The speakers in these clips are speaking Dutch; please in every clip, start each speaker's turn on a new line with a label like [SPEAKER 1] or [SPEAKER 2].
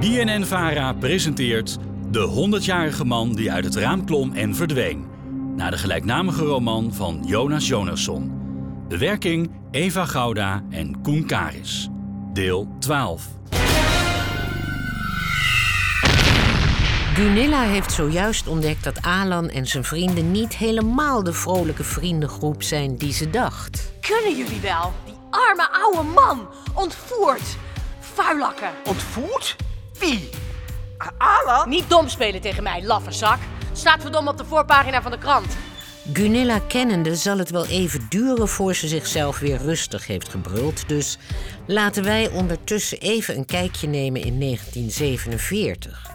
[SPEAKER 1] BNN Vara presenteert De 100-jarige man die uit het raam klom en verdween. Naar de gelijknamige roman van Jonas Jonasson. Bewerking Eva Gouda en Koen Karis. Deel 12.
[SPEAKER 2] Gunilla heeft zojuist ontdekt dat Alan en zijn vrienden niet helemaal de vrolijke vriendengroep zijn die ze dacht.
[SPEAKER 3] Kunnen jullie wel? Die arme oude man! Ontvoerd! Vuilakken!
[SPEAKER 4] Ontvoerd? Wie? A- Alan?
[SPEAKER 3] Niet dom spelen tegen mij, laffe zak. Staat verdomme op de voorpagina van de krant.
[SPEAKER 2] Gunilla kennende zal het wel even duren voor ze zichzelf weer rustig heeft gebruld, dus laten wij ondertussen even een kijkje nemen in 1947.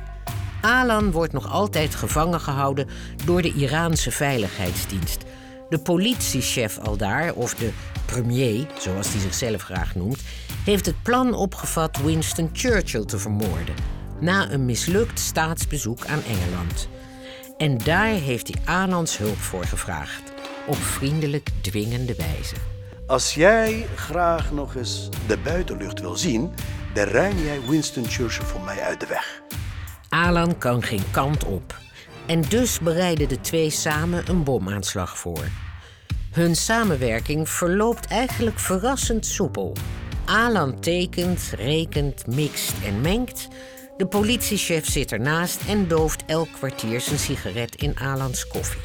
[SPEAKER 2] Alan wordt nog altijd gevangen gehouden door de Iraanse veiligheidsdienst. De politiechef aldaar, of de premier, zoals hij zichzelf graag noemt, heeft het plan opgevat Winston Churchill te vermoorden na een mislukt staatsbezoek aan Engeland. En daar heeft hij Alans hulp voor gevraagd, op vriendelijk dwingende wijze.
[SPEAKER 5] Als jij graag nog eens de buitenlucht wil zien, dan ruim jij Winston Churchill voor mij uit de weg.
[SPEAKER 2] Alan kan geen kant op. En dus bereiden de twee samen een bomaanslag voor. Hun samenwerking verloopt eigenlijk verrassend soepel. Alan tekent, rekent, mixt en mengt. De politiechef zit ernaast en dooft elk kwartier zijn sigaret in Alans koffie.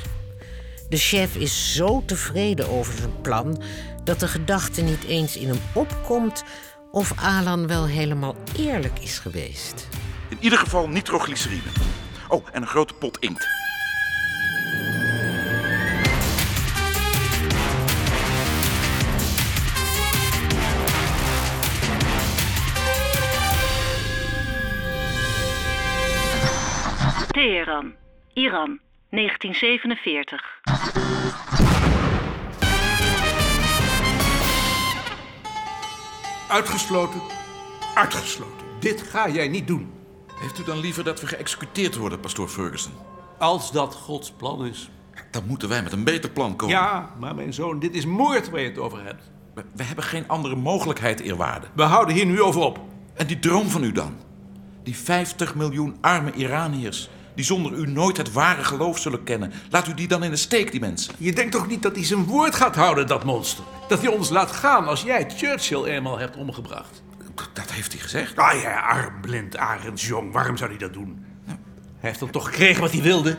[SPEAKER 2] De chef is zo tevreden over zijn plan dat de gedachte niet eens in hem opkomt of Alan wel helemaal eerlijk is geweest.
[SPEAKER 6] In ieder geval nitroglycerine. Oh, en een grote pot inkt.
[SPEAKER 7] Teheran, Iran, 1947.
[SPEAKER 8] Uitgesloten. Uitgesloten. Dit ga jij niet doen.
[SPEAKER 6] Heeft u dan liever dat we geëxecuteerd worden, pastoor Ferguson?
[SPEAKER 8] Als dat Gods plan is.
[SPEAKER 6] Dan moeten wij met een beter plan komen.
[SPEAKER 8] Ja, maar mijn zoon, dit is moord waar je het over hebt.
[SPEAKER 6] We, we hebben geen andere mogelijkheid, eerwaarde.
[SPEAKER 8] We houden hier nu over op.
[SPEAKER 6] En die droom van u dan? Die 50 miljoen arme Iraniërs, die zonder u nooit het ware geloof zullen kennen. Laat u die dan in de steek, die mensen.
[SPEAKER 8] Je denkt toch niet dat hij zijn woord gaat houden, dat monster? Dat hij ons laat gaan als jij Churchill eenmaal hebt omgebracht.
[SPEAKER 6] D- Dat heeft hij gezegd.
[SPEAKER 8] Ah ja, arm, blind, arendsjong. Waarom zou hij dat doen? Hij heeft dan toch gekregen wat hij wilde?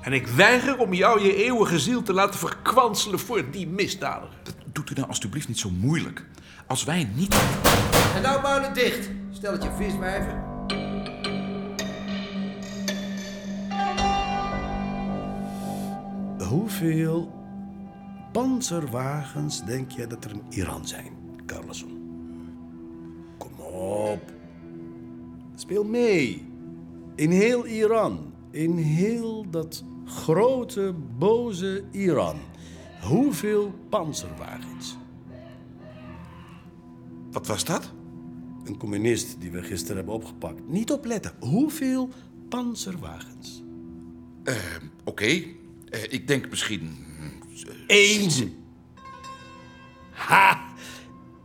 [SPEAKER 8] En ik weiger om jou je eeuwige ziel te laten verkwanselen voor die misdadiger.
[SPEAKER 6] Dat doet u dan alstublieft niet zo moeilijk. Als wij niet...
[SPEAKER 9] En nou muilen dicht. Stel het je viswijven.
[SPEAKER 5] Hoeveel panzerwagens denk jij dat er in Iran zijn, Carlson? Kom op. Speel mee. In heel Iran, in heel dat grote, boze Iran. Hoeveel panzerwagens?
[SPEAKER 6] Wat was dat?
[SPEAKER 5] Een communist die we gisteren hebben opgepakt. Niet opletten. Hoeveel panzerwagens?
[SPEAKER 6] Oké, eh, ik denk misschien... eh,
[SPEAKER 5] Eens. Ha!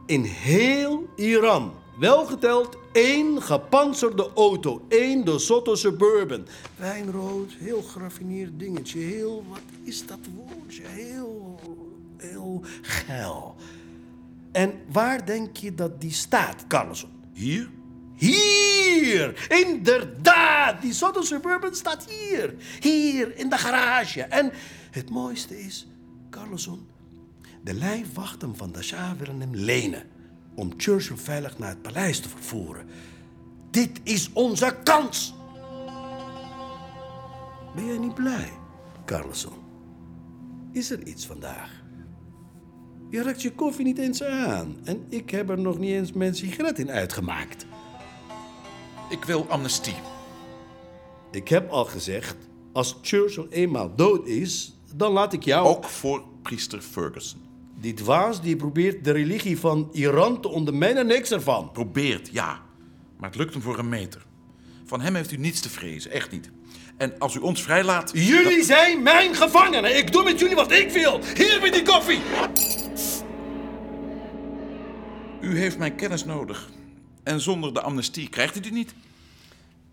[SPEAKER 5] In heel Iran. Welgeteld één gepantserde auto. één de Sotte Suburban. Wijnrood, heel geraffineerd dingetje. Heel, wat is dat woordje? Heel, heel geil. En waar denk je dat die staat, Carlson?
[SPEAKER 6] Hier?
[SPEAKER 5] Hier! Inderdaad! Die Sotte Suburban staat hier. Hier, in de garage. En het mooiste is, Carlson, de lijfwachten van de Shah willen hem lenen... om Churchill veilig naar het paleis te vervoeren. Dit is onze kans! Ben jij niet blij, Carlson? Is er iets vandaag? Je raakt je koffie niet eens aan. En ik heb er nog niet eens mijn sigaret in uitgemaakt.
[SPEAKER 6] Ik wil amnestie.
[SPEAKER 5] Ik heb al gezegd, als Churchill eenmaal dood is, dan laat ik jou...
[SPEAKER 6] Ook voor priester Ferguson.
[SPEAKER 5] Die dwaas die probeert de religie van Iran te ondermijnen, niks ervan.
[SPEAKER 6] Probeert, ja. Maar het lukt hem voor een meter. Van hem heeft u niets te vrezen, echt niet. En als u ons vrijlaat...
[SPEAKER 5] Jullie zijn mijn gevangenen. Ik doe met jullie wat ik wil. Hier met die koffie.
[SPEAKER 6] U heeft mijn kennis nodig. En zonder de amnestie krijgt u die niet.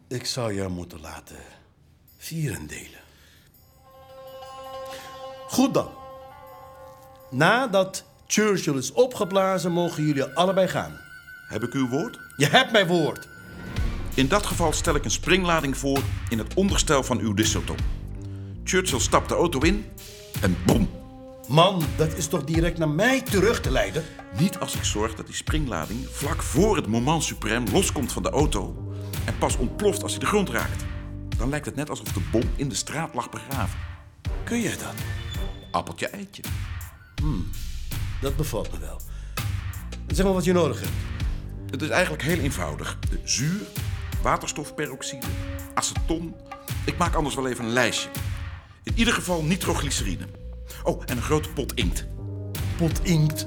[SPEAKER 5] Ik zou jou moeten laten vieren delen. Goed dan. Nadat Churchill is opgeblazen, mogen jullie allebei gaan.
[SPEAKER 6] Heb ik uw woord?
[SPEAKER 5] Je hebt mijn woord.
[SPEAKER 6] In dat geval stel ik een springlading voor in het onderstel van uw disselton. Churchill stapt de auto in en boem.
[SPEAKER 5] Man, dat is toch direct naar mij terug te leiden?
[SPEAKER 6] Niet als ik zorg dat die springlading vlak voor het moment suprême loskomt van de auto en pas ontploft als hij de grond raakt. Dan lijkt het net alsof de bom in de straat lag begraven.
[SPEAKER 5] Kun je dat?
[SPEAKER 6] Appeltje eitje. Hmm.
[SPEAKER 5] Dat bevalt me wel. Zeg maar wat je nodig hebt.
[SPEAKER 6] Het is eigenlijk heel eenvoudig. Eh, Zuur, waterstofperoxide, aceton. Ik maak anders wel even een lijstje. In ieder geval nitroglycerine. Oh, en een grote pot inkt.
[SPEAKER 5] Pot inkt.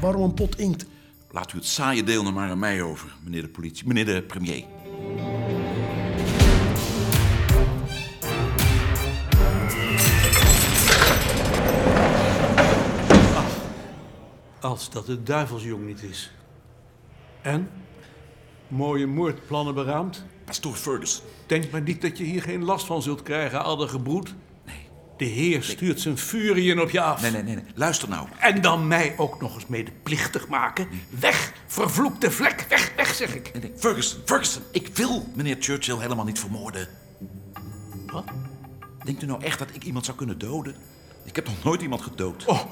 [SPEAKER 5] Waarom een pot inkt?
[SPEAKER 6] Laat u het saaie deel nou maar aan mij over, meneer de politie, meneer de premier.
[SPEAKER 8] Ah, Als dat de duivelsjong niet is. En? Mooie moordplannen beraamd?
[SPEAKER 6] Pastoor Ferguson.
[SPEAKER 8] Denk maar niet dat je hier geen last van zult krijgen, adder gebroed. De Heer stuurt zijn furien op je af.
[SPEAKER 6] Nee, nee, nee, nee. Luister nou.
[SPEAKER 8] En dan mij ook nog eens medeplichtig maken. Weg, vervloekte vlek. Weg, weg, zeg ik.
[SPEAKER 6] Nee, nee. Ferguson, Ferguson. Ik wil meneer Churchill helemaal niet vermoorden.
[SPEAKER 8] Wat?
[SPEAKER 6] Denkt u nou echt dat ik iemand zou kunnen doden? Ik heb nog nooit iemand gedood.
[SPEAKER 8] Oh,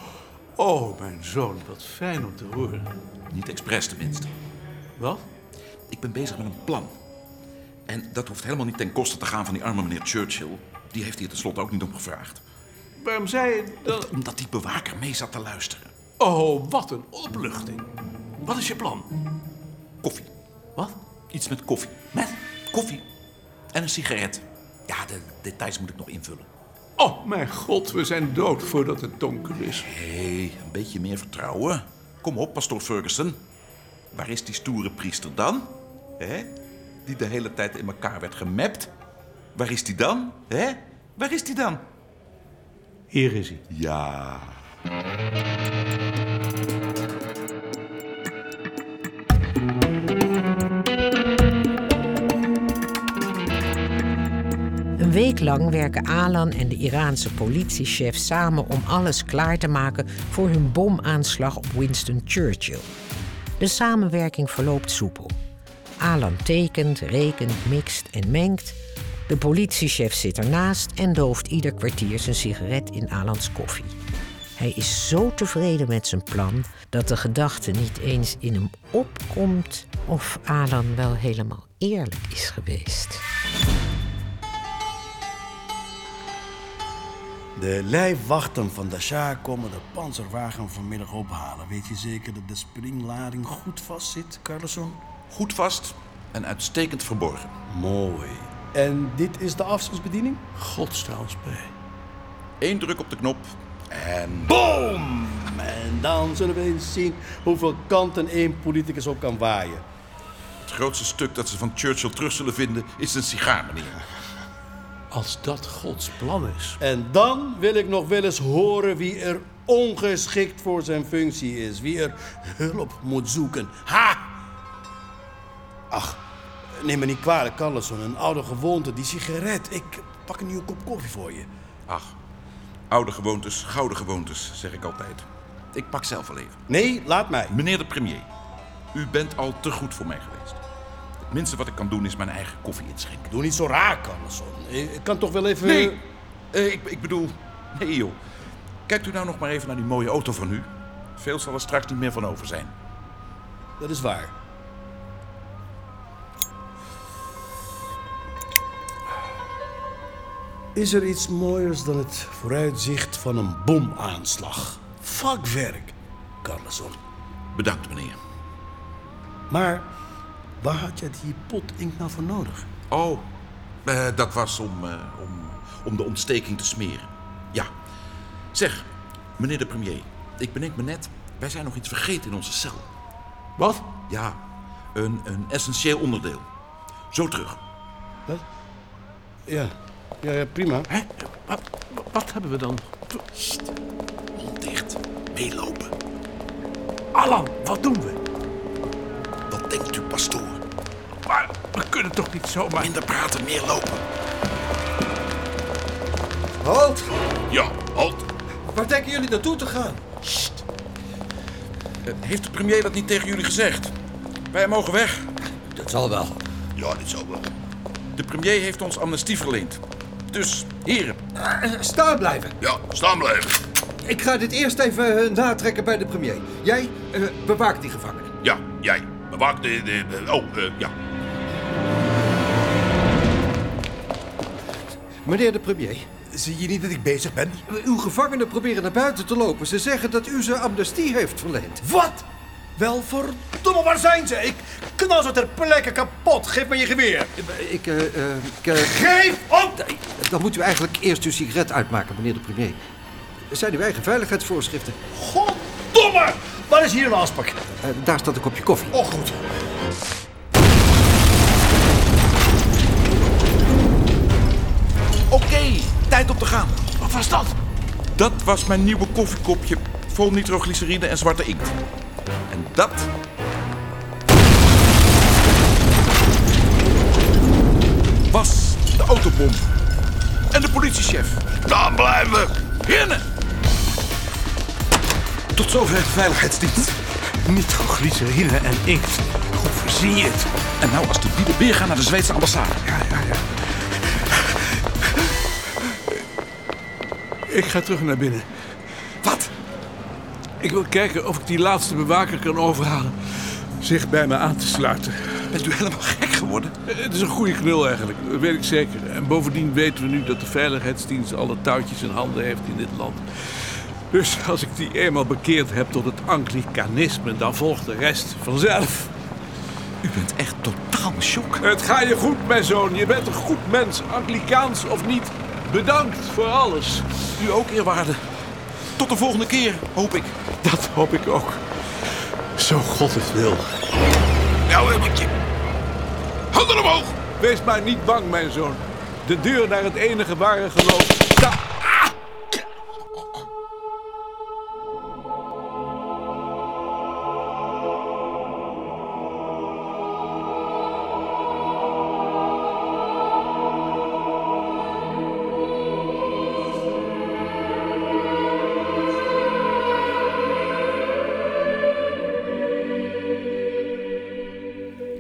[SPEAKER 8] oh, mijn zoon, wat fijn om te horen.
[SPEAKER 6] Niet expres tenminste.
[SPEAKER 8] Wat?
[SPEAKER 6] Ik ben bezig met een plan. En dat hoeft helemaal niet ten koste te gaan van die arme meneer Churchill. Die heeft hier tenslotte ook niet om gevraagd.
[SPEAKER 8] Waarom zei je dat?
[SPEAKER 6] Eh, Omdat die bewaker mee zat te luisteren.
[SPEAKER 8] Oh, wat een opluchting. Wat is je plan?
[SPEAKER 6] Koffie.
[SPEAKER 8] Wat?
[SPEAKER 6] Iets met koffie. Met? Koffie. En een sigaret. Ja, de details moet ik nog invullen.
[SPEAKER 8] Oh, mijn god, we zijn dood voordat het donker is.
[SPEAKER 6] Hé, een beetje meer vertrouwen. Kom op, pastoor Ferguson. Waar is die stoere priester dan? Hè? Die de hele tijd in elkaar werd gemapt. Waar is die dan? Hè? Waar is die dan?
[SPEAKER 8] Hier is hij.
[SPEAKER 6] Ja.
[SPEAKER 2] Een week lang werken Alan en de Iraanse politiechef samen om alles klaar te maken voor hun bomaanslag op Winston Churchill. De samenwerking verloopt soepel. Alan tekent, rekent, mixt en mengt. De politiechef zit ernaast en dooft ieder kwartier zijn sigaret in Alans koffie. Hij is zo tevreden met zijn plan dat de gedachte niet eens in hem opkomt of Alan wel helemaal eerlijk is geweest.
[SPEAKER 5] De lijfwachten van de Shah komen de panzerwagen vanmiddag ophalen. Weet je zeker dat de springlading goed vast zit, Carlson?
[SPEAKER 6] Goed vast en uitstekend verborgen.
[SPEAKER 5] Mooi. En dit is de afstandsbediening?
[SPEAKER 8] God sta ons bij.
[SPEAKER 6] Eén druk op de knop en...
[SPEAKER 5] Boom! En dan zullen we eens zien hoeveel kanten één politicus op kan waaien.
[SPEAKER 6] Het grootste stuk dat ze van Churchill terug zullen vinden is een sigaar, meneer.
[SPEAKER 8] Als dat Gods plan is.
[SPEAKER 5] En dan wil ik nog wel eens horen wie er ongeschikt voor zijn functie is. Wie er hulp moet zoeken. Ha! Ach, neem me niet kwalijk, Carlson. Een oude gewoonte, die sigaret. Ik pak een nieuwe kop koffie voor je.
[SPEAKER 6] Ach, oude gewoontes, gouden gewoontes, zeg ik altijd. Ik pak zelf wel even.
[SPEAKER 5] Nee, laat mij.
[SPEAKER 6] Meneer de premier, u bent al te goed voor mij geweest. Het minste wat ik kan doen is mijn eigen koffie inschenken.
[SPEAKER 5] Doe niet zo raar, Carlson. Eh, Ik kan toch wel even...
[SPEAKER 6] Nee, eh, ik, ik bedoel, nee joh. Kijkt u nou nog maar even naar die mooie auto van u. Veel zal er straks niet meer van over zijn.
[SPEAKER 5] Dat is waar. Is er iets mooiers dan het vooruitzicht van een bomaanslag? Vakwerk, Carlson.
[SPEAKER 6] Bedankt, meneer.
[SPEAKER 5] Maar waar had je die pot inkt nou voor nodig?
[SPEAKER 6] Oh, eh, dat was om, eh, om, om de ontsteking te smeren. Ja. Zeg, meneer de premier, ik bedenk me net, wij zijn nog iets vergeten in onze cel.
[SPEAKER 8] Wat?
[SPEAKER 6] Ja, een, een essentieel onderdeel. Zo terug.
[SPEAKER 5] Ja, ja, ja prima.
[SPEAKER 8] Hè? Wat, wat hebben we dan?
[SPEAKER 6] Mond dicht, meelopen.
[SPEAKER 8] Alan, wat doen we?
[SPEAKER 6] Wat denkt u, pastoor?
[SPEAKER 8] Maar we kunnen kunnen toch niet zomaar...
[SPEAKER 6] Minder praten, meer lopen.
[SPEAKER 9] Halt!
[SPEAKER 6] Ja, halt.
[SPEAKER 9] Waar denken jullie naartoe te gaan?
[SPEAKER 6] Eh, Heeft de premier dat niet tegen jullie gezegd? Wij mogen weg.
[SPEAKER 9] Dat zal wel.
[SPEAKER 6] Ja, dit zal wel. De premier heeft ons amnestie verleend. Dus, heren.
[SPEAKER 9] Eh, Staan blijven.
[SPEAKER 6] Ja, staan blijven.
[SPEAKER 9] Ik ga dit eerst even eh, natrekken bij de premier. Jij eh, bewaakt die gevangenen.
[SPEAKER 6] Ja, jij. Bewaak de... de, de- oh, eh, ja.
[SPEAKER 9] Meneer de premier, Eh,
[SPEAKER 10] Zie je niet dat ik bezig ben?
[SPEAKER 9] uw gevangenen proberen naar buiten te lopen. Ze zeggen dat u ze amnestie heeft verleend.
[SPEAKER 10] Wat? Wel verdomme, waar zijn ze? Ik knal ze ter plekke kapot. Geef me je geweer.
[SPEAKER 9] Ik, eh, eh, ik, eh,
[SPEAKER 10] Geef op!
[SPEAKER 9] dan moet u eigenlijk eerst uw sigaret uitmaken, meneer de premier. Er zijn uw eigen veiligheidsvoorschriften.
[SPEAKER 10] Goddomme! Waar is hier een afspraak?
[SPEAKER 9] Eh, daar staat een kopje koffie.
[SPEAKER 10] Oh, goed.
[SPEAKER 6] Oké, tijd om te gaan. Wat was dat? Dat was mijn nieuwe koffiekopje vol nitroglycerine en zwarte inkt. En dat... was de autobom. En de politiechef. Dan blijven we. Hinnen! Tot zover de veiligheidsdienst.
[SPEAKER 8] Nitroglycerine en inkt. Hoe verzin je het?
[SPEAKER 6] En nou als de bieden weer gaan naar de Zweedse ambassade.
[SPEAKER 8] Ik ga terug naar binnen.
[SPEAKER 6] Wat?
[SPEAKER 8] Ik wil kijken of ik die laatste bewaker kan overhalen zich bij me aan te sluiten. Eh,
[SPEAKER 6] Bent u helemaal gek geworden?
[SPEAKER 8] Het is een goede knul eigenlijk, dat weet ik zeker. En bovendien weten we nu dat de veiligheidsdienst alle touwtjes in handen heeft in dit land. Dus als ik die eenmaal bekeerd heb tot het anglicanisme, dan volgt de rest vanzelf.
[SPEAKER 6] U bent echt totaal in shock.
[SPEAKER 8] Het gaat je goed, mijn zoon. Je bent een goed mens, anglicaans of niet. Bedankt voor alles.
[SPEAKER 6] U ook, eerwaarde. Tot de volgende keer, hoop ik.
[SPEAKER 8] Dat hoop ik ook. Zo God het wil.
[SPEAKER 6] Nou, Emmertje. Handen omhoog!
[SPEAKER 8] Wees maar niet bang, mijn zoon. De deur naar het enige ware geloof staat.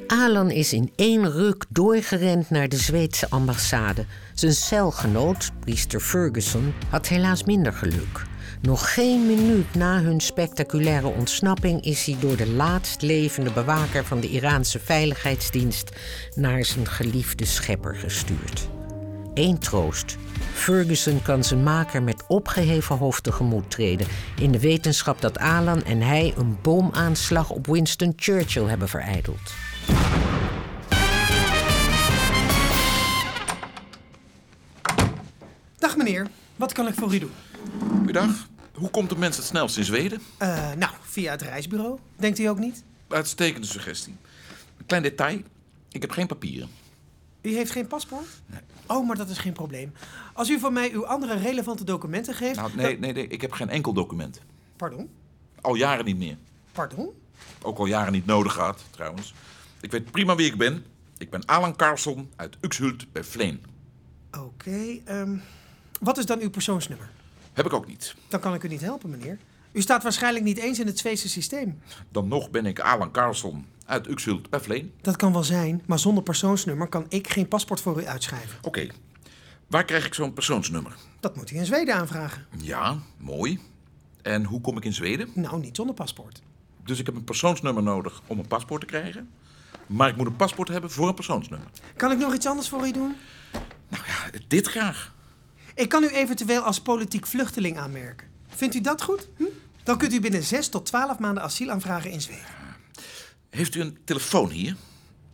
[SPEAKER 2] Alan is in één ruk doorgerend naar de Zweedse ambassade. Zijn celgenoot, priester Ferguson, had helaas minder geluk. Nog geen minuut na hun spectaculaire ontsnapping is hij door de laatst levende bewaker van de Iraanse veiligheidsdienst naar zijn geliefde schepper gestuurd. Eén troost. Ferguson kan zijn maker met opgeheven hoofd tegemoet treden. In de wetenschap dat Alan en hij een bomaanslag op Winston Churchill hebben verijdeld.
[SPEAKER 11] Dag meneer, wat kan ik voor u doen?
[SPEAKER 6] Goedendag. Hoe komt de mens het snelst in Zweden?
[SPEAKER 11] Eh, nou, via het reisbureau. Denkt u ook niet?
[SPEAKER 6] Uitstekende suggestie. Een klein detail. Ik heb geen papieren.
[SPEAKER 11] U heeft geen paspoort? Oh, maar dat is geen probleem. Als u van mij uw andere relevante documenten geeft...
[SPEAKER 6] Nou, nee, nee, nee. Ik heb geen enkel document.
[SPEAKER 11] dan- Pardon?
[SPEAKER 6] Al jaren niet meer.
[SPEAKER 11] Pardon?
[SPEAKER 6] Ook al jaren niet nodig gehad, trouwens. Ik weet prima wie ik ben. Ik ben Alan Carlson uit Uxhult bij Vleen.
[SPEAKER 11] Oké, ehm, wat is dan uw persoonsnummer?
[SPEAKER 6] Heb ik ook niet.
[SPEAKER 11] Dan kan ik u niet helpen, meneer. U staat waarschijnlijk niet eens in het Zweedse systeem.
[SPEAKER 6] Dan nog ben ik Alan Carlson uit Uxhult bij Vleen.
[SPEAKER 11] Dat kan wel zijn, maar zonder persoonsnummer kan ik geen paspoort voor u uitschrijven.
[SPEAKER 6] Oké. Waar krijg ik zo'n persoonsnummer?
[SPEAKER 11] Dat moet u in Zweden aanvragen.
[SPEAKER 6] Ja, mooi. En hoe kom ik in Zweden?
[SPEAKER 11] Nou, niet zonder paspoort.
[SPEAKER 6] Dus ik heb een persoonsnummer nodig om een paspoort te krijgen. Maar ik moet een paspoort hebben voor een persoonsnummer.
[SPEAKER 11] Kan ik nog iets anders voor u doen?
[SPEAKER 6] Ja, dit graag.
[SPEAKER 11] Ik kan u eventueel als politiek vluchteling aanmerken. Vindt u dat goed? Hm? Dan kunt u binnen 6 tot 12 maanden asiel aanvragen in Zweden.
[SPEAKER 6] Heeft u een telefoon hier?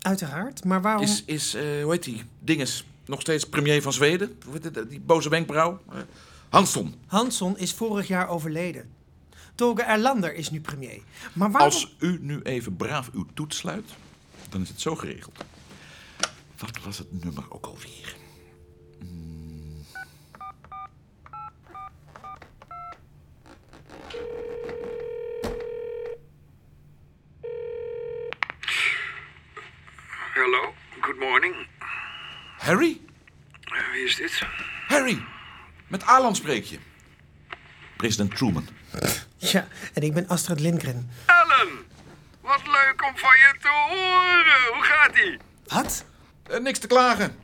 [SPEAKER 11] Uiteraard, maar waarom...
[SPEAKER 6] Is, is eh, hoe heet die? Dinges. Nog steeds premier van Zweden? Hoe heet het, eh, Die boze wenkbrauw? Eh, Hansson.
[SPEAKER 11] Hansson is vorig jaar overleden. Toge Erlander is nu premier. Maar waarom...
[SPEAKER 6] Als u nu even braaf uw toets sluit, dan is het zo geregeld. Wat was het nummer ook alweer? Hmm.
[SPEAKER 12] Hallo, Good morning. Eh,
[SPEAKER 6] Harry?
[SPEAKER 12] Wie is dit?
[SPEAKER 6] Harry! Met Alan spreek je. President Truman.
[SPEAKER 11] Ja, en ik ben Astrid Lindgren.
[SPEAKER 12] Ellen! Wat leuk om van je te horen. Hoe gaat ie?
[SPEAKER 11] Wat?
[SPEAKER 6] Eh, niks te klagen.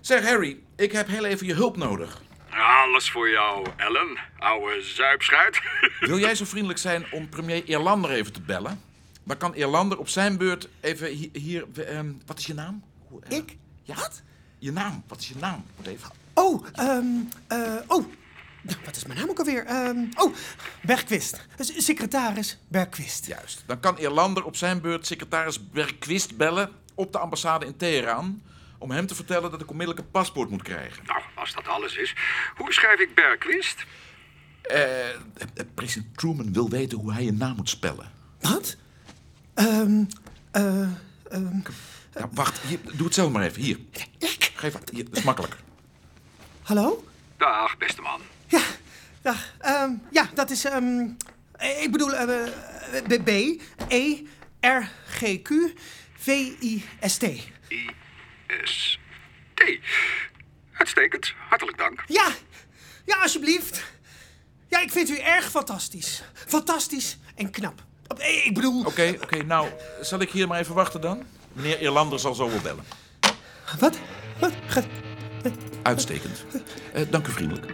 [SPEAKER 6] Zeg Harry, ik heb heel even je hulp nodig.
[SPEAKER 12] Alles voor jou, Ellen. Oude zuipschuit.
[SPEAKER 6] Wil jij zo vriendelijk zijn om premier Eerlander even te bellen? Dan kan Eerlander op zijn beurt even hi- hier... ehm, wat is je naam? eh,
[SPEAKER 11] Ik?
[SPEAKER 6] Ja. Wat? Je naam. Wat is je naam? Moet even.
[SPEAKER 11] Oh, ehm, eh, oh. Wat is mijn naam ook alweer? Ehm, oh, Bergquist. S- Secretaris Bergquist.
[SPEAKER 6] Juist. Dan kan Eerlander op zijn beurt secretaris Bergquist bellen op de ambassade in Teheran... om hem te vertellen dat ik onmiddellijk een paspoort moet krijgen.
[SPEAKER 12] Nou, als dat alles is. Hoe schrijf ik Bergquist?
[SPEAKER 6] Eh, eh, president Truman wil weten hoe hij je naam moet spellen.
[SPEAKER 11] Wat? Ehm, eh, ehm,
[SPEAKER 6] Nou, wacht, hier, doe het zelf maar even. Hier. Geef aan. Hier, dat is makkelijker.
[SPEAKER 11] hallo?
[SPEAKER 12] Dag, beste man.
[SPEAKER 11] Dag. Ehm, ja, dat is, ehm, eh, ik bedoel, eh, eh, B, B, E, R, G, Q, V, I, S, T.
[SPEAKER 12] I-S-T. Uitstekend. Hartelijk dank.
[SPEAKER 11] Ja, ja, alsjeblieft. Ja, ik vind u erg fantastisch. Fantastisch en knap. Eh, Ik bedoel...
[SPEAKER 6] Oké, oké. nou, zal ik hier maar even wachten dan? Meneer Irlander zal zo wel bellen.
[SPEAKER 11] Wat? Wat?
[SPEAKER 6] Uitstekend. Eh, dank u vriendelijk.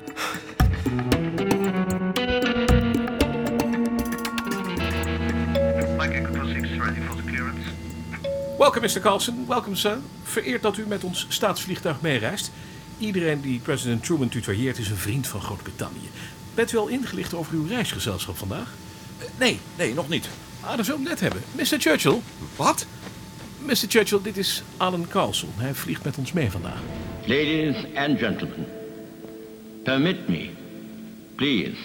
[SPEAKER 13] Welkom, Mr. Carlson. Welkom, sir. Vereerd dat u met ons staatsvliegtuig meereist. Iedereen die president Truman tutoieert is een vriend van Groot-Brittannië. Bent u al ingelicht over uw reisgezelschap vandaag?
[SPEAKER 6] nee, nee, nog niet.
[SPEAKER 13] Ah, dat wil ik net hebben. Mr. Churchill.
[SPEAKER 6] Wat?
[SPEAKER 13] Mr. Churchill, dit is Alan Carlson. Hij vliegt met ons mee vandaag.
[SPEAKER 14] Ladies and gentlemen, permit me, please,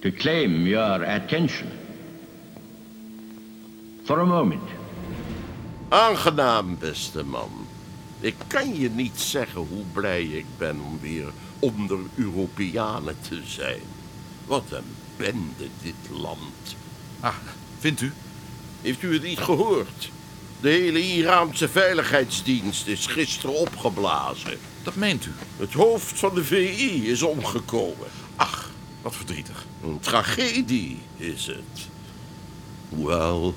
[SPEAKER 14] to claim your attention for a moment.
[SPEAKER 15] Aangenaam, beste man. Ik kan je niet zeggen hoe blij ik ben om weer onder Europeanen te zijn. Wat een bende dit land.
[SPEAKER 6] Ah, vindt u?
[SPEAKER 15] Heeft u het niet gehoord? De hele Iraanse veiligheidsdienst is gisteren opgeblazen.
[SPEAKER 6] Dat meent u?
[SPEAKER 15] Het hoofd van de VI is omgekomen.
[SPEAKER 6] Ach, wat verdrietig.
[SPEAKER 15] Een tragedie is het. Hoewel,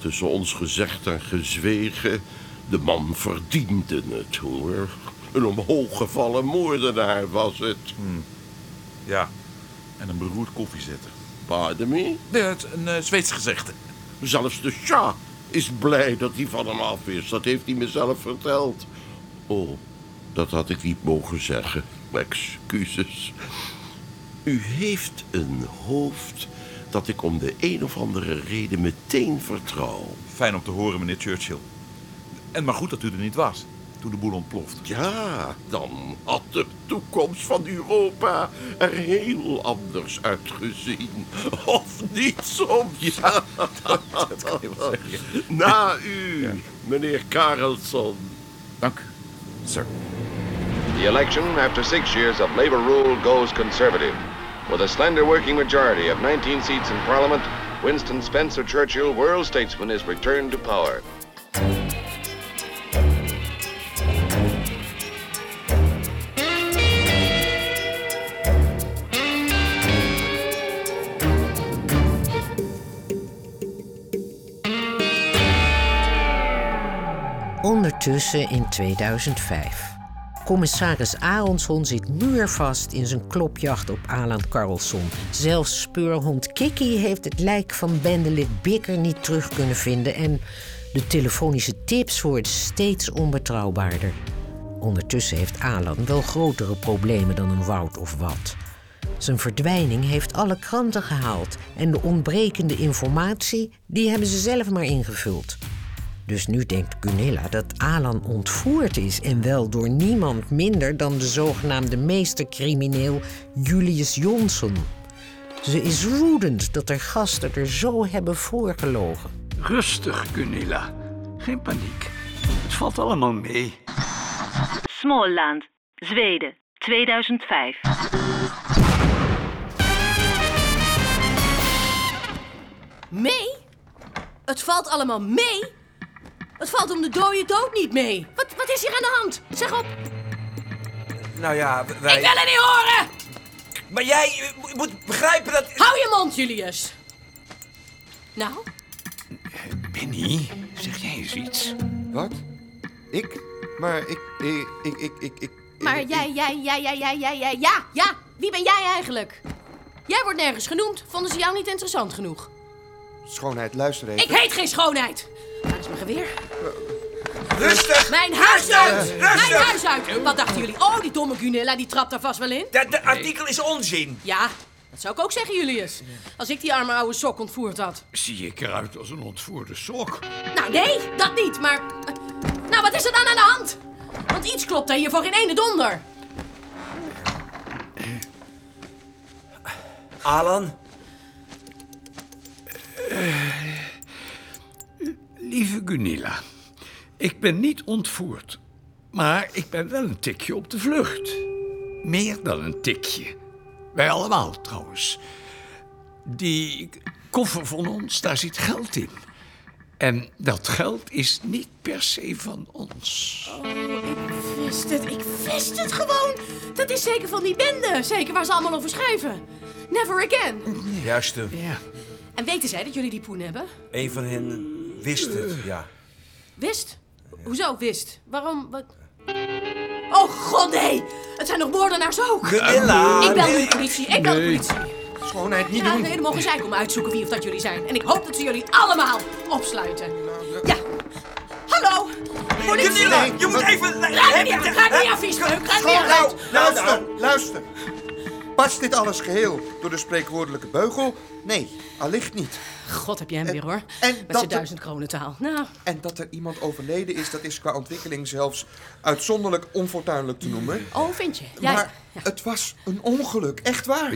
[SPEAKER 15] tussen ons gezegd en gezwegen, de man verdiende het hoor. Een omhooggevallen moordenaar was het.
[SPEAKER 6] Hm. Ja, en een beroerd koffiezetter.
[SPEAKER 15] Pardon me?
[SPEAKER 6] Nee, het is een eh, Zweeds gezegde.
[SPEAKER 15] Zelfs de Shah is blij dat hij van hem af is. Dat heeft hij mezelf verteld. Oh, dat had ik niet mogen zeggen. Excuses. U heeft een hoofd dat ik om de een of andere reden meteen vertrouw.
[SPEAKER 6] Fijn om te horen, meneer Churchill. En maar goed dat u er niet was toen de boel ontploft.
[SPEAKER 15] Ja, dan had de toekomst van Europa er heel anders uitgezien. Of niet soms. Ja,
[SPEAKER 6] dat kan je wel zeggen.
[SPEAKER 15] Na u, meneer Karelson.
[SPEAKER 6] Dank u, sir.
[SPEAKER 16] The election, after six years of labor rule, goes conservative. With a slender working majority of 19 seats in Parliament, Winston Spencer Churchill, world statesman, is returned to power.
[SPEAKER 2] Ondertussen in 2005. Commissaris Aronson zit muurvast in zijn klopjacht op Alan Carlson. Zelfs speurhond Kiki heeft het lijk van bendelid Bikker niet terug kunnen vinden... en de telefonische tips worden steeds onbetrouwbaarder. Ondertussen heeft Alan wel grotere problemen dan een woud of wat. Zijn verdwijning heeft alle kranten gehaald... en de ontbrekende informatie, die hebben ze zelf maar ingevuld... Dus nu denkt Gunilla dat Alan ontvoerd is en wel door niemand minder dan de zogenaamde meestercrimineel Julius Johnson. Ze is woedend dat haar gasten er zo hebben voorgelogen.
[SPEAKER 17] Rustig, Gunilla. Geen paniek. Het valt allemaal mee.
[SPEAKER 7] Småland, Zweden, 2005.
[SPEAKER 3] Mee? Het valt allemaal mee? Het valt om de dode dood niet mee. Wat, wat is hier aan de hand? Zeg op.
[SPEAKER 4] Nou ja, w- wij...
[SPEAKER 3] Ik wil het niet horen!
[SPEAKER 4] Maar jij eh, mo- moet begrijpen dat...
[SPEAKER 3] Hou je mond, Julius. Nou,
[SPEAKER 17] Benny, zeg jij eens iets?
[SPEAKER 18] Wat? Ik? Maar ik, ik, ik, ik, ik, ik-
[SPEAKER 3] maar jij, jij, jij, jij, jij, jij, jij, ja, ja. Wie ben jij eigenlijk? Jij wordt nergens genoemd. Vonden ze jou niet interessant genoeg?
[SPEAKER 18] Schoonheid, luister even.
[SPEAKER 3] Ik heet geen schoonheid. Waar is mijn geweer?
[SPEAKER 4] Rustig!
[SPEAKER 3] Mijn huis uit!
[SPEAKER 4] Rustig!
[SPEAKER 3] Mijn huis uit! Wat dachten jullie? Oh, die domme Gunilla, die trapt daar vast wel in.
[SPEAKER 4] Dat de artikel is onzin.
[SPEAKER 3] Ja, dat zou ik ook zeggen, Julius. Als ik die arme oude sok ontvoerd had.
[SPEAKER 17] Zie ik eruit als een ontvoerde sok?
[SPEAKER 3] Nou, nee, dat niet, maar... Nou, wat is er dan aan de hand? Want iets klopt daar hier voor geen ene donder.
[SPEAKER 4] Alan?
[SPEAKER 17] Eh, Lieve Gunilla, ik ben niet ontvoerd. Maar ik ben wel een tikje op de vlucht. Meer dan een tikje. Wij allemaal trouwens. Die koffer van ons, daar zit geld in. En dat geld is niet per se van ons.
[SPEAKER 3] Ik wist het, ik wist het gewoon. Dat is zeker van die bende. Zeker waar ze allemaal over schrijven. Never again.
[SPEAKER 4] Juist hem.
[SPEAKER 3] En weten zij dat jullie die poen hebben?
[SPEAKER 4] Een van hen wist het, ja.
[SPEAKER 3] Wist? Hoezo wist? Waarom? Wat? Oh god, nee! Het zijn nog moordenaars ook!
[SPEAKER 4] Gunilla,
[SPEAKER 3] Ik bel nu
[SPEAKER 4] nee.
[SPEAKER 3] de politie, ik bel de
[SPEAKER 4] Nee.
[SPEAKER 3] politie.
[SPEAKER 4] Schoonheid niet
[SPEAKER 3] Ja,
[SPEAKER 4] doen.
[SPEAKER 3] nee, dan mogen zij komen uitzoeken wie of dat jullie zijn. En ik hoop dat ze jullie allemaal opsluiten. Ja. Hallo! Politie!
[SPEAKER 12] Gunilla, je moet even-
[SPEAKER 3] Raak me niet aan! Raak me niet aan, viespeuk! Raak me niet aan!
[SPEAKER 18] Nou, luister, luister. Past dit alles geheel door de spreekwoordelijke beugel? Nee, allicht niet.
[SPEAKER 3] God, heb jij hem weer, hoor.
[SPEAKER 18] En
[SPEAKER 3] Met
[SPEAKER 18] dat
[SPEAKER 3] zijn
[SPEAKER 18] er-
[SPEAKER 3] duizend kronen taal. Nou,
[SPEAKER 18] En dat er iemand overleden is, dat is qua ontwikkeling zelfs uitzonderlijk onfortuinlijk te noemen.
[SPEAKER 3] oh, vind je? Jij...
[SPEAKER 18] Maar het was een ongeluk, echt waar.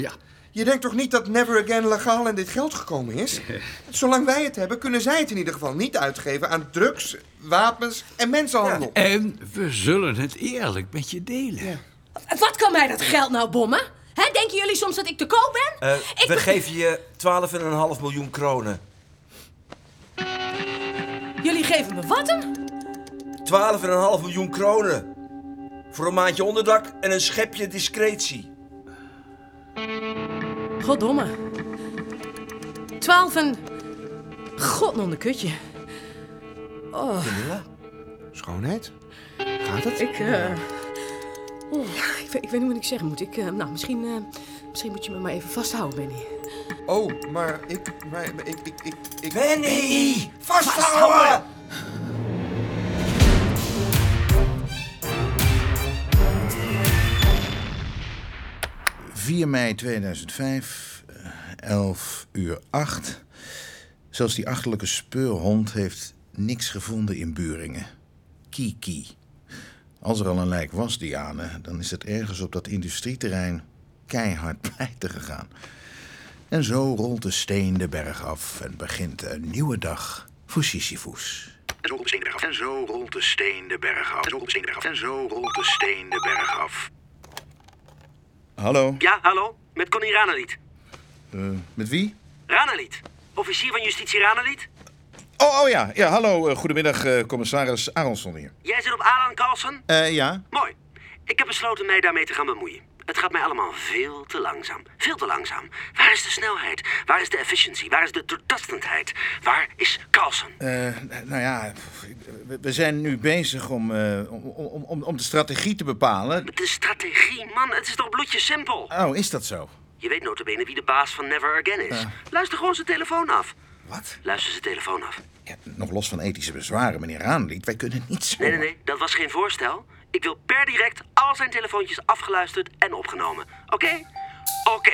[SPEAKER 18] Je denkt toch niet dat Never Again legaal in dit geld gekomen is? Zolang wij het hebben, kunnen zij het in ieder geval niet uitgeven aan drugs, wapens en mensenhandel.
[SPEAKER 17] En we zullen het eerlijk met je delen.
[SPEAKER 3] Wat kan mij dat geld nou bommen? Hè, denken jullie soms dat ik te koop ben?
[SPEAKER 4] Eh,
[SPEAKER 3] Ik
[SPEAKER 4] we
[SPEAKER 3] ben-
[SPEAKER 4] geven je 12,5 miljoen kronen.
[SPEAKER 3] Jullie geven me wat hem?
[SPEAKER 4] 12,5 miljoen kronen. Voor een maandje onderdak en een schepje discretie.
[SPEAKER 3] Goddomme. Twaalf en... God, non de kutje. Oh.
[SPEAKER 18] Schoonheid? Gaat het?
[SPEAKER 3] Ik, eh, oh, ik, weet, ik weet niet wat ik zeggen moet. Ik, eh, nou, misschien, eh, misschien moet je me maar even vasthouden, Benny.
[SPEAKER 18] Oh, maar ik, maar ik, ik, ik, ik, ik...
[SPEAKER 4] Benny! Vasthouden!
[SPEAKER 19] eh, 4 mei 2005, eh, 11 uur 8. Zelfs die achterlijke speurhond heeft niks gevonden in Buringen. Kiki. Als er al een lijk was, Diane, dan is het ergens op dat industrieterrein keihard pleiten gegaan. En zo rolt de steen de berg af en begint een nieuwe dag voor Sisyphus.
[SPEAKER 20] En zo rolt de steen de berg af. En zo rolt de steen de berg af.
[SPEAKER 19] Hallo,
[SPEAKER 21] Ja, hallo? Met Connie Ranelied.
[SPEAKER 19] eh, met wie?
[SPEAKER 21] Ranelied, officier van justitie Ranelied.
[SPEAKER 19] Oh, oh ja, ja hallo, eh, goedemiddag, eh, commissaris Aronson hier.
[SPEAKER 21] Jij zit op Alan Carlsen?
[SPEAKER 19] Eh, ja,
[SPEAKER 21] Mooi. Ik heb besloten mij daarmee te gaan bemoeien. Het gaat mij allemaal veel te langzaam. Veel te langzaam. Waar is de snelheid? Waar is de efficiëntie? Waar is de doortastendheid? Waar is Carlsen?
[SPEAKER 19] Eh, nou ja, we- we zijn nu bezig om, eh, om, om, om- om de strategie te bepalen.
[SPEAKER 21] De strategie, man, het is toch bloedje simpel?
[SPEAKER 19] Oh, is dat zo?
[SPEAKER 21] Je weet notabene wie de baas van Never Again is.
[SPEAKER 19] Eh.
[SPEAKER 21] Luister gewoon zijn telefoon af. Wat? Luister zijn telefoon af.
[SPEAKER 19] Nog los van ethische bezwaren, meneer Raanlied, wij kunnen niets.
[SPEAKER 21] Nee, nee, nee, dat was geen voorstel. Ik wil per direct al zijn telefoontjes afgeluisterd en opgenomen. Oké? Oké.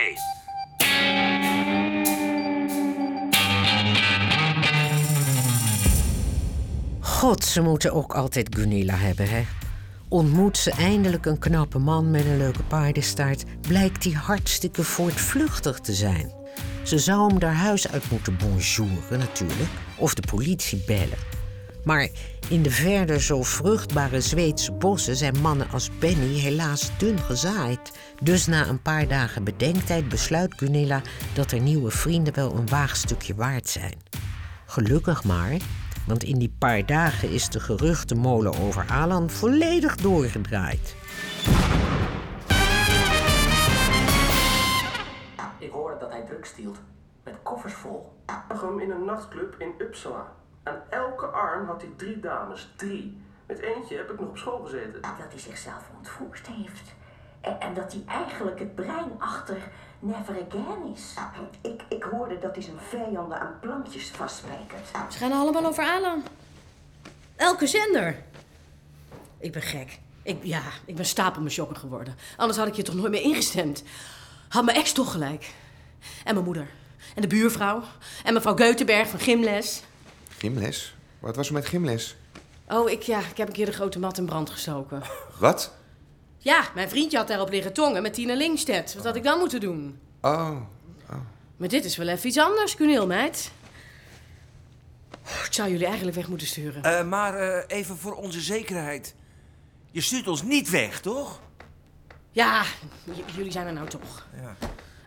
[SPEAKER 2] God, ze moeten ook altijd Gunilla hebben, hè? Ontmoet ze eindelijk een knappe man met een leuke paardenstaart, blijkt die hartstikke voortvluchtig te zijn. Ze zou hem daar huis uit moeten bonjouren, natuurlijk, of de politie bellen. Maar in de verder zo vruchtbare Zweedse bossen zijn mannen als Benny helaas dun gezaaid. Dus na een paar dagen bedenktijd besluit Gunilla dat haar nieuwe vrienden wel een waagstukje waard zijn. Gelukkig maar, Want in die paar dagen is de geruchtenmolen over Alan volledig doorgedraaid.
[SPEAKER 1] Ik hoorde dat hij drugs hield. Met koffers vol. Ik zag hem in een nachtclub in Uppsala. Aan elke arm had hij drie dames. Drie. Met eentje heb ik nog op school gezeten.
[SPEAKER 22] Dat hij zichzelf ontvoerd heeft. En, en dat hij eigenlijk het brein achter Never Again is. Ik, ik hoorde dat hij zijn vijanden aan plankjes vastspijkert.
[SPEAKER 3] Ze gaan allemaal over Alan. Elke zender. Ik ben gek. Ik, ja, ik ben stapel mijn shocker geworden. Anders had ik je toch nooit meer ingestemd. Had mijn ex toch gelijk. En mijn moeder. En de buurvrouw. En mevrouw Geutenberg van Gymles.
[SPEAKER 18] Gymles? Wat was er met gymles?
[SPEAKER 3] Oh, ik, ja, ik heb een keer de grote mat in brand gestoken.
[SPEAKER 18] Wat?
[SPEAKER 3] Ja, mijn vriendje had daarop liggen tongen met Tina Lingstedt. Wat had ik dan moeten doen?
[SPEAKER 18] Oh.
[SPEAKER 3] Maar dit is wel even iets anders, Cuneel, meid. Oh, ik zou jullie eigenlijk weg moeten sturen.
[SPEAKER 4] Eh, maar eh, even voor onze zekerheid. Je stuurt ons niet weg, toch?
[SPEAKER 3] Ja, j- jullie zijn er nou toch.
[SPEAKER 4] Ja.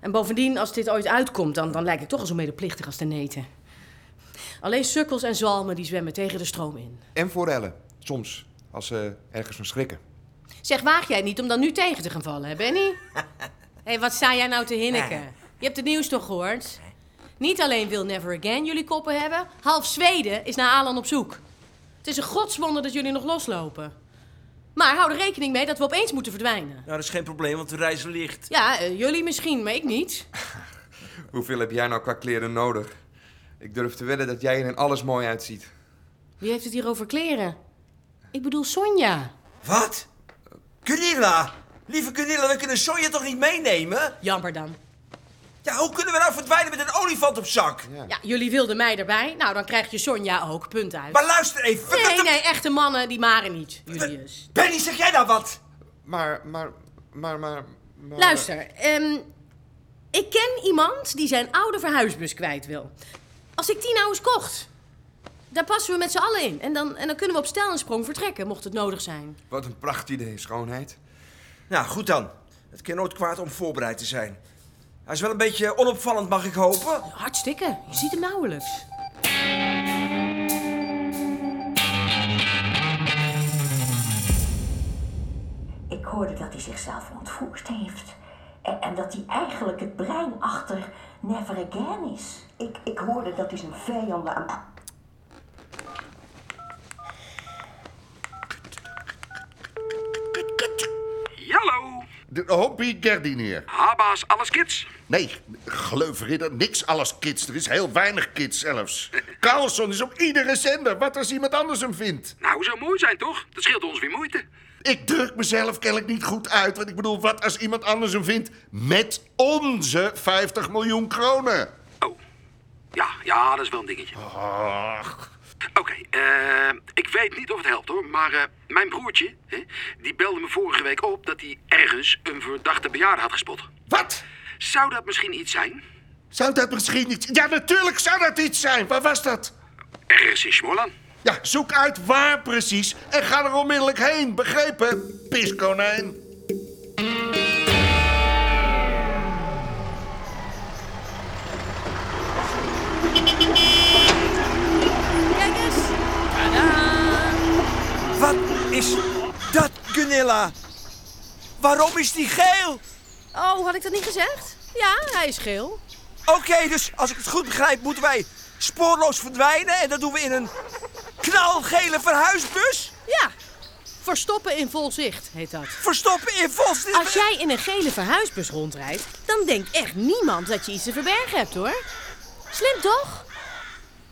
[SPEAKER 3] En bovendien, als dit ooit uitkomt, dan, dan lijk ik toch al zo medeplichtig als de neten. Alleen sukkels en zalmen die zwemmen tegen de stroom in.
[SPEAKER 18] En voor Ellen, soms, als ze ergens van schrikken.
[SPEAKER 3] Zeg, waag jij het niet om dan nu tegen te gaan vallen, hè, Benny? Hé, wat sta jij nou te hinniken? Je hebt het nieuws toch gehoord? Niet alleen wil Never Again jullie koppen hebben, half Zweden is naar Alan op zoek. Het is een godswonder dat jullie nog loslopen. Maar hou er rekening mee dat we opeens moeten verdwijnen.
[SPEAKER 4] Nou, dat is geen probleem, want we reizen licht.
[SPEAKER 3] Ja, eh, jullie misschien, maar ik niet.
[SPEAKER 18] Hoeveel heb jij nou qua kleren nodig? Ik durf te wedden dat jij er in alles mooi uitziet.
[SPEAKER 3] Wie heeft het hier over kleren? Ik bedoel Sonja.
[SPEAKER 4] Wat? Gunilla! Lieve Gunilla, we kunnen Sonja toch niet meenemen?
[SPEAKER 3] Jammer dan.
[SPEAKER 4] Ja, hoe kunnen we nou verdwijnen met een olifant op zak?
[SPEAKER 3] Ja, jullie wilden mij erbij. Nou, dan krijg je Sonja ook. Punt uit.
[SPEAKER 4] Maar luister even. wat-
[SPEAKER 3] Nee, nee, echte mannen, die maren niet, Julius.
[SPEAKER 4] Benny, zeg jij nou wat?
[SPEAKER 18] Maar, maar, maar, maar... maar-
[SPEAKER 3] Luister, ehm, ik ken iemand die zijn oude verhuisbus kwijt wil. Als ik die nou eens kocht, daar passen we met z'n allen in. En dan, en dan kunnen we op stijl en sprong vertrekken, mocht het nodig zijn.
[SPEAKER 18] Wat een pracht idee, schoonheid.
[SPEAKER 4] Nou, goed dan. Het kan nooit kwaad om voorbereid te zijn. Hij is wel een beetje onopvallend, mag ik hopen?
[SPEAKER 3] Hartstikke. Je ziet hem nauwelijks.
[SPEAKER 22] Ik hoorde dat hij zichzelf ontvoerd heeft. En, en dat hij eigenlijk het brein achter Never Again is. Ik, ik hoorde dat hij zijn vijanden aan...
[SPEAKER 20] Hallo. De hobby Gerdinier. Haba's alles kids? Nee, gleuvridder, niks alles kids. Er is heel weinig kids zelfs. Carlson is op iedere zender, wat als iemand anders hem vindt.
[SPEAKER 23] Nou, zou mooi zijn toch? Dat scheelt ons weer moeite.
[SPEAKER 20] Ik druk mezelf kennelijk niet goed uit, want ik bedoel, wat als iemand anders hem vindt met onze 50 miljoen kronen?
[SPEAKER 23] Ja, ja, dat is wel een dingetje.
[SPEAKER 20] Ach,
[SPEAKER 23] Oké, eh, ik weet niet of het helpt hoor, maar eh, mijn broertje, hè, die belde me vorige week op dat hij ergens een verdachte bejaarde had gespot.
[SPEAKER 20] Wat?
[SPEAKER 23] Zou dat misschien iets zijn?
[SPEAKER 20] zou dat misschien iets... Ja, natuurlijk zou dat iets zijn. Waar was dat?
[SPEAKER 23] Ergens in Smolan.
[SPEAKER 20] Ja, zoek uit waar precies en ga er onmiddellijk heen, begrepen? Piskonijn.
[SPEAKER 3] Kijk eens. Ah.
[SPEAKER 4] Wat is dat, Gunilla? Waarom is die geel?
[SPEAKER 3] Oh, had ik dat niet gezegd? Ja, hij is geel.
[SPEAKER 4] Oké, dus als ik het goed begrijp, moeten wij spoorloos verdwijnen. En dat doen we in een knalgele verhuisbus.
[SPEAKER 3] Ja, verstoppen in vol zicht heet dat.
[SPEAKER 4] Verstoppen in vol zicht?
[SPEAKER 3] Als jij in een gele verhuisbus rondrijdt, dan denkt echt niemand dat je iets te verbergen hebt hoor. Slim toch?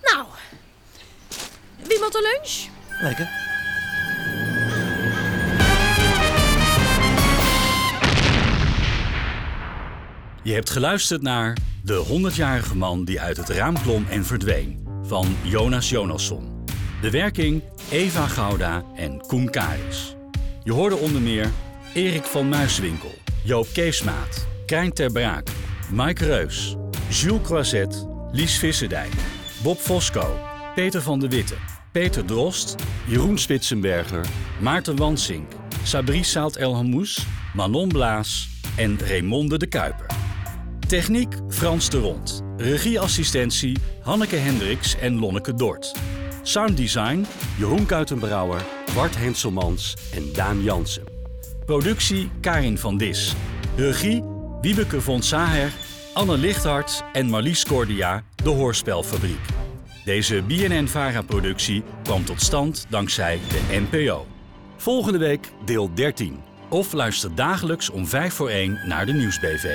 [SPEAKER 3] Nou, wie moet er lunch?
[SPEAKER 4] Lekker.
[SPEAKER 24] Je hebt geluisterd naar De 100-jarige man die uit het raam klom en verdween van Jonas Jonasson. De werking Eva Gouda en Koen Karis. Je hoorde onder meer Erik van Muiswinkel, Joop Keesmaat, Krijn Ter Braak, Mike Reus, Jules Croiset, Lies Visserdijk, Bob Fosco, Peter van de Witte, Peter Drost, Jeroen Spitsenberger, Maarten Wansink, Sabri Saalt El Hamous, Manon Blaas en Raymonde de Kuiper. Techniek Frans de Rond. Regieassistentie Hanneke Hendricks en Lonneke Dort. Sounddesign Jeroen Kuitenbrouwer, Bart Henselmans en Daan Jansen. Productie Karin van Dis. Regie Wiebeke von Saher, Anne Lichthart en Marlies Cordia, de Hoorspelfabriek. Deze BNN-Vara-productie kwam tot stand dankzij de NPO. Volgende week deel 13. Of luister dagelijks om 5 voor 1 naar de Nieuwsbv.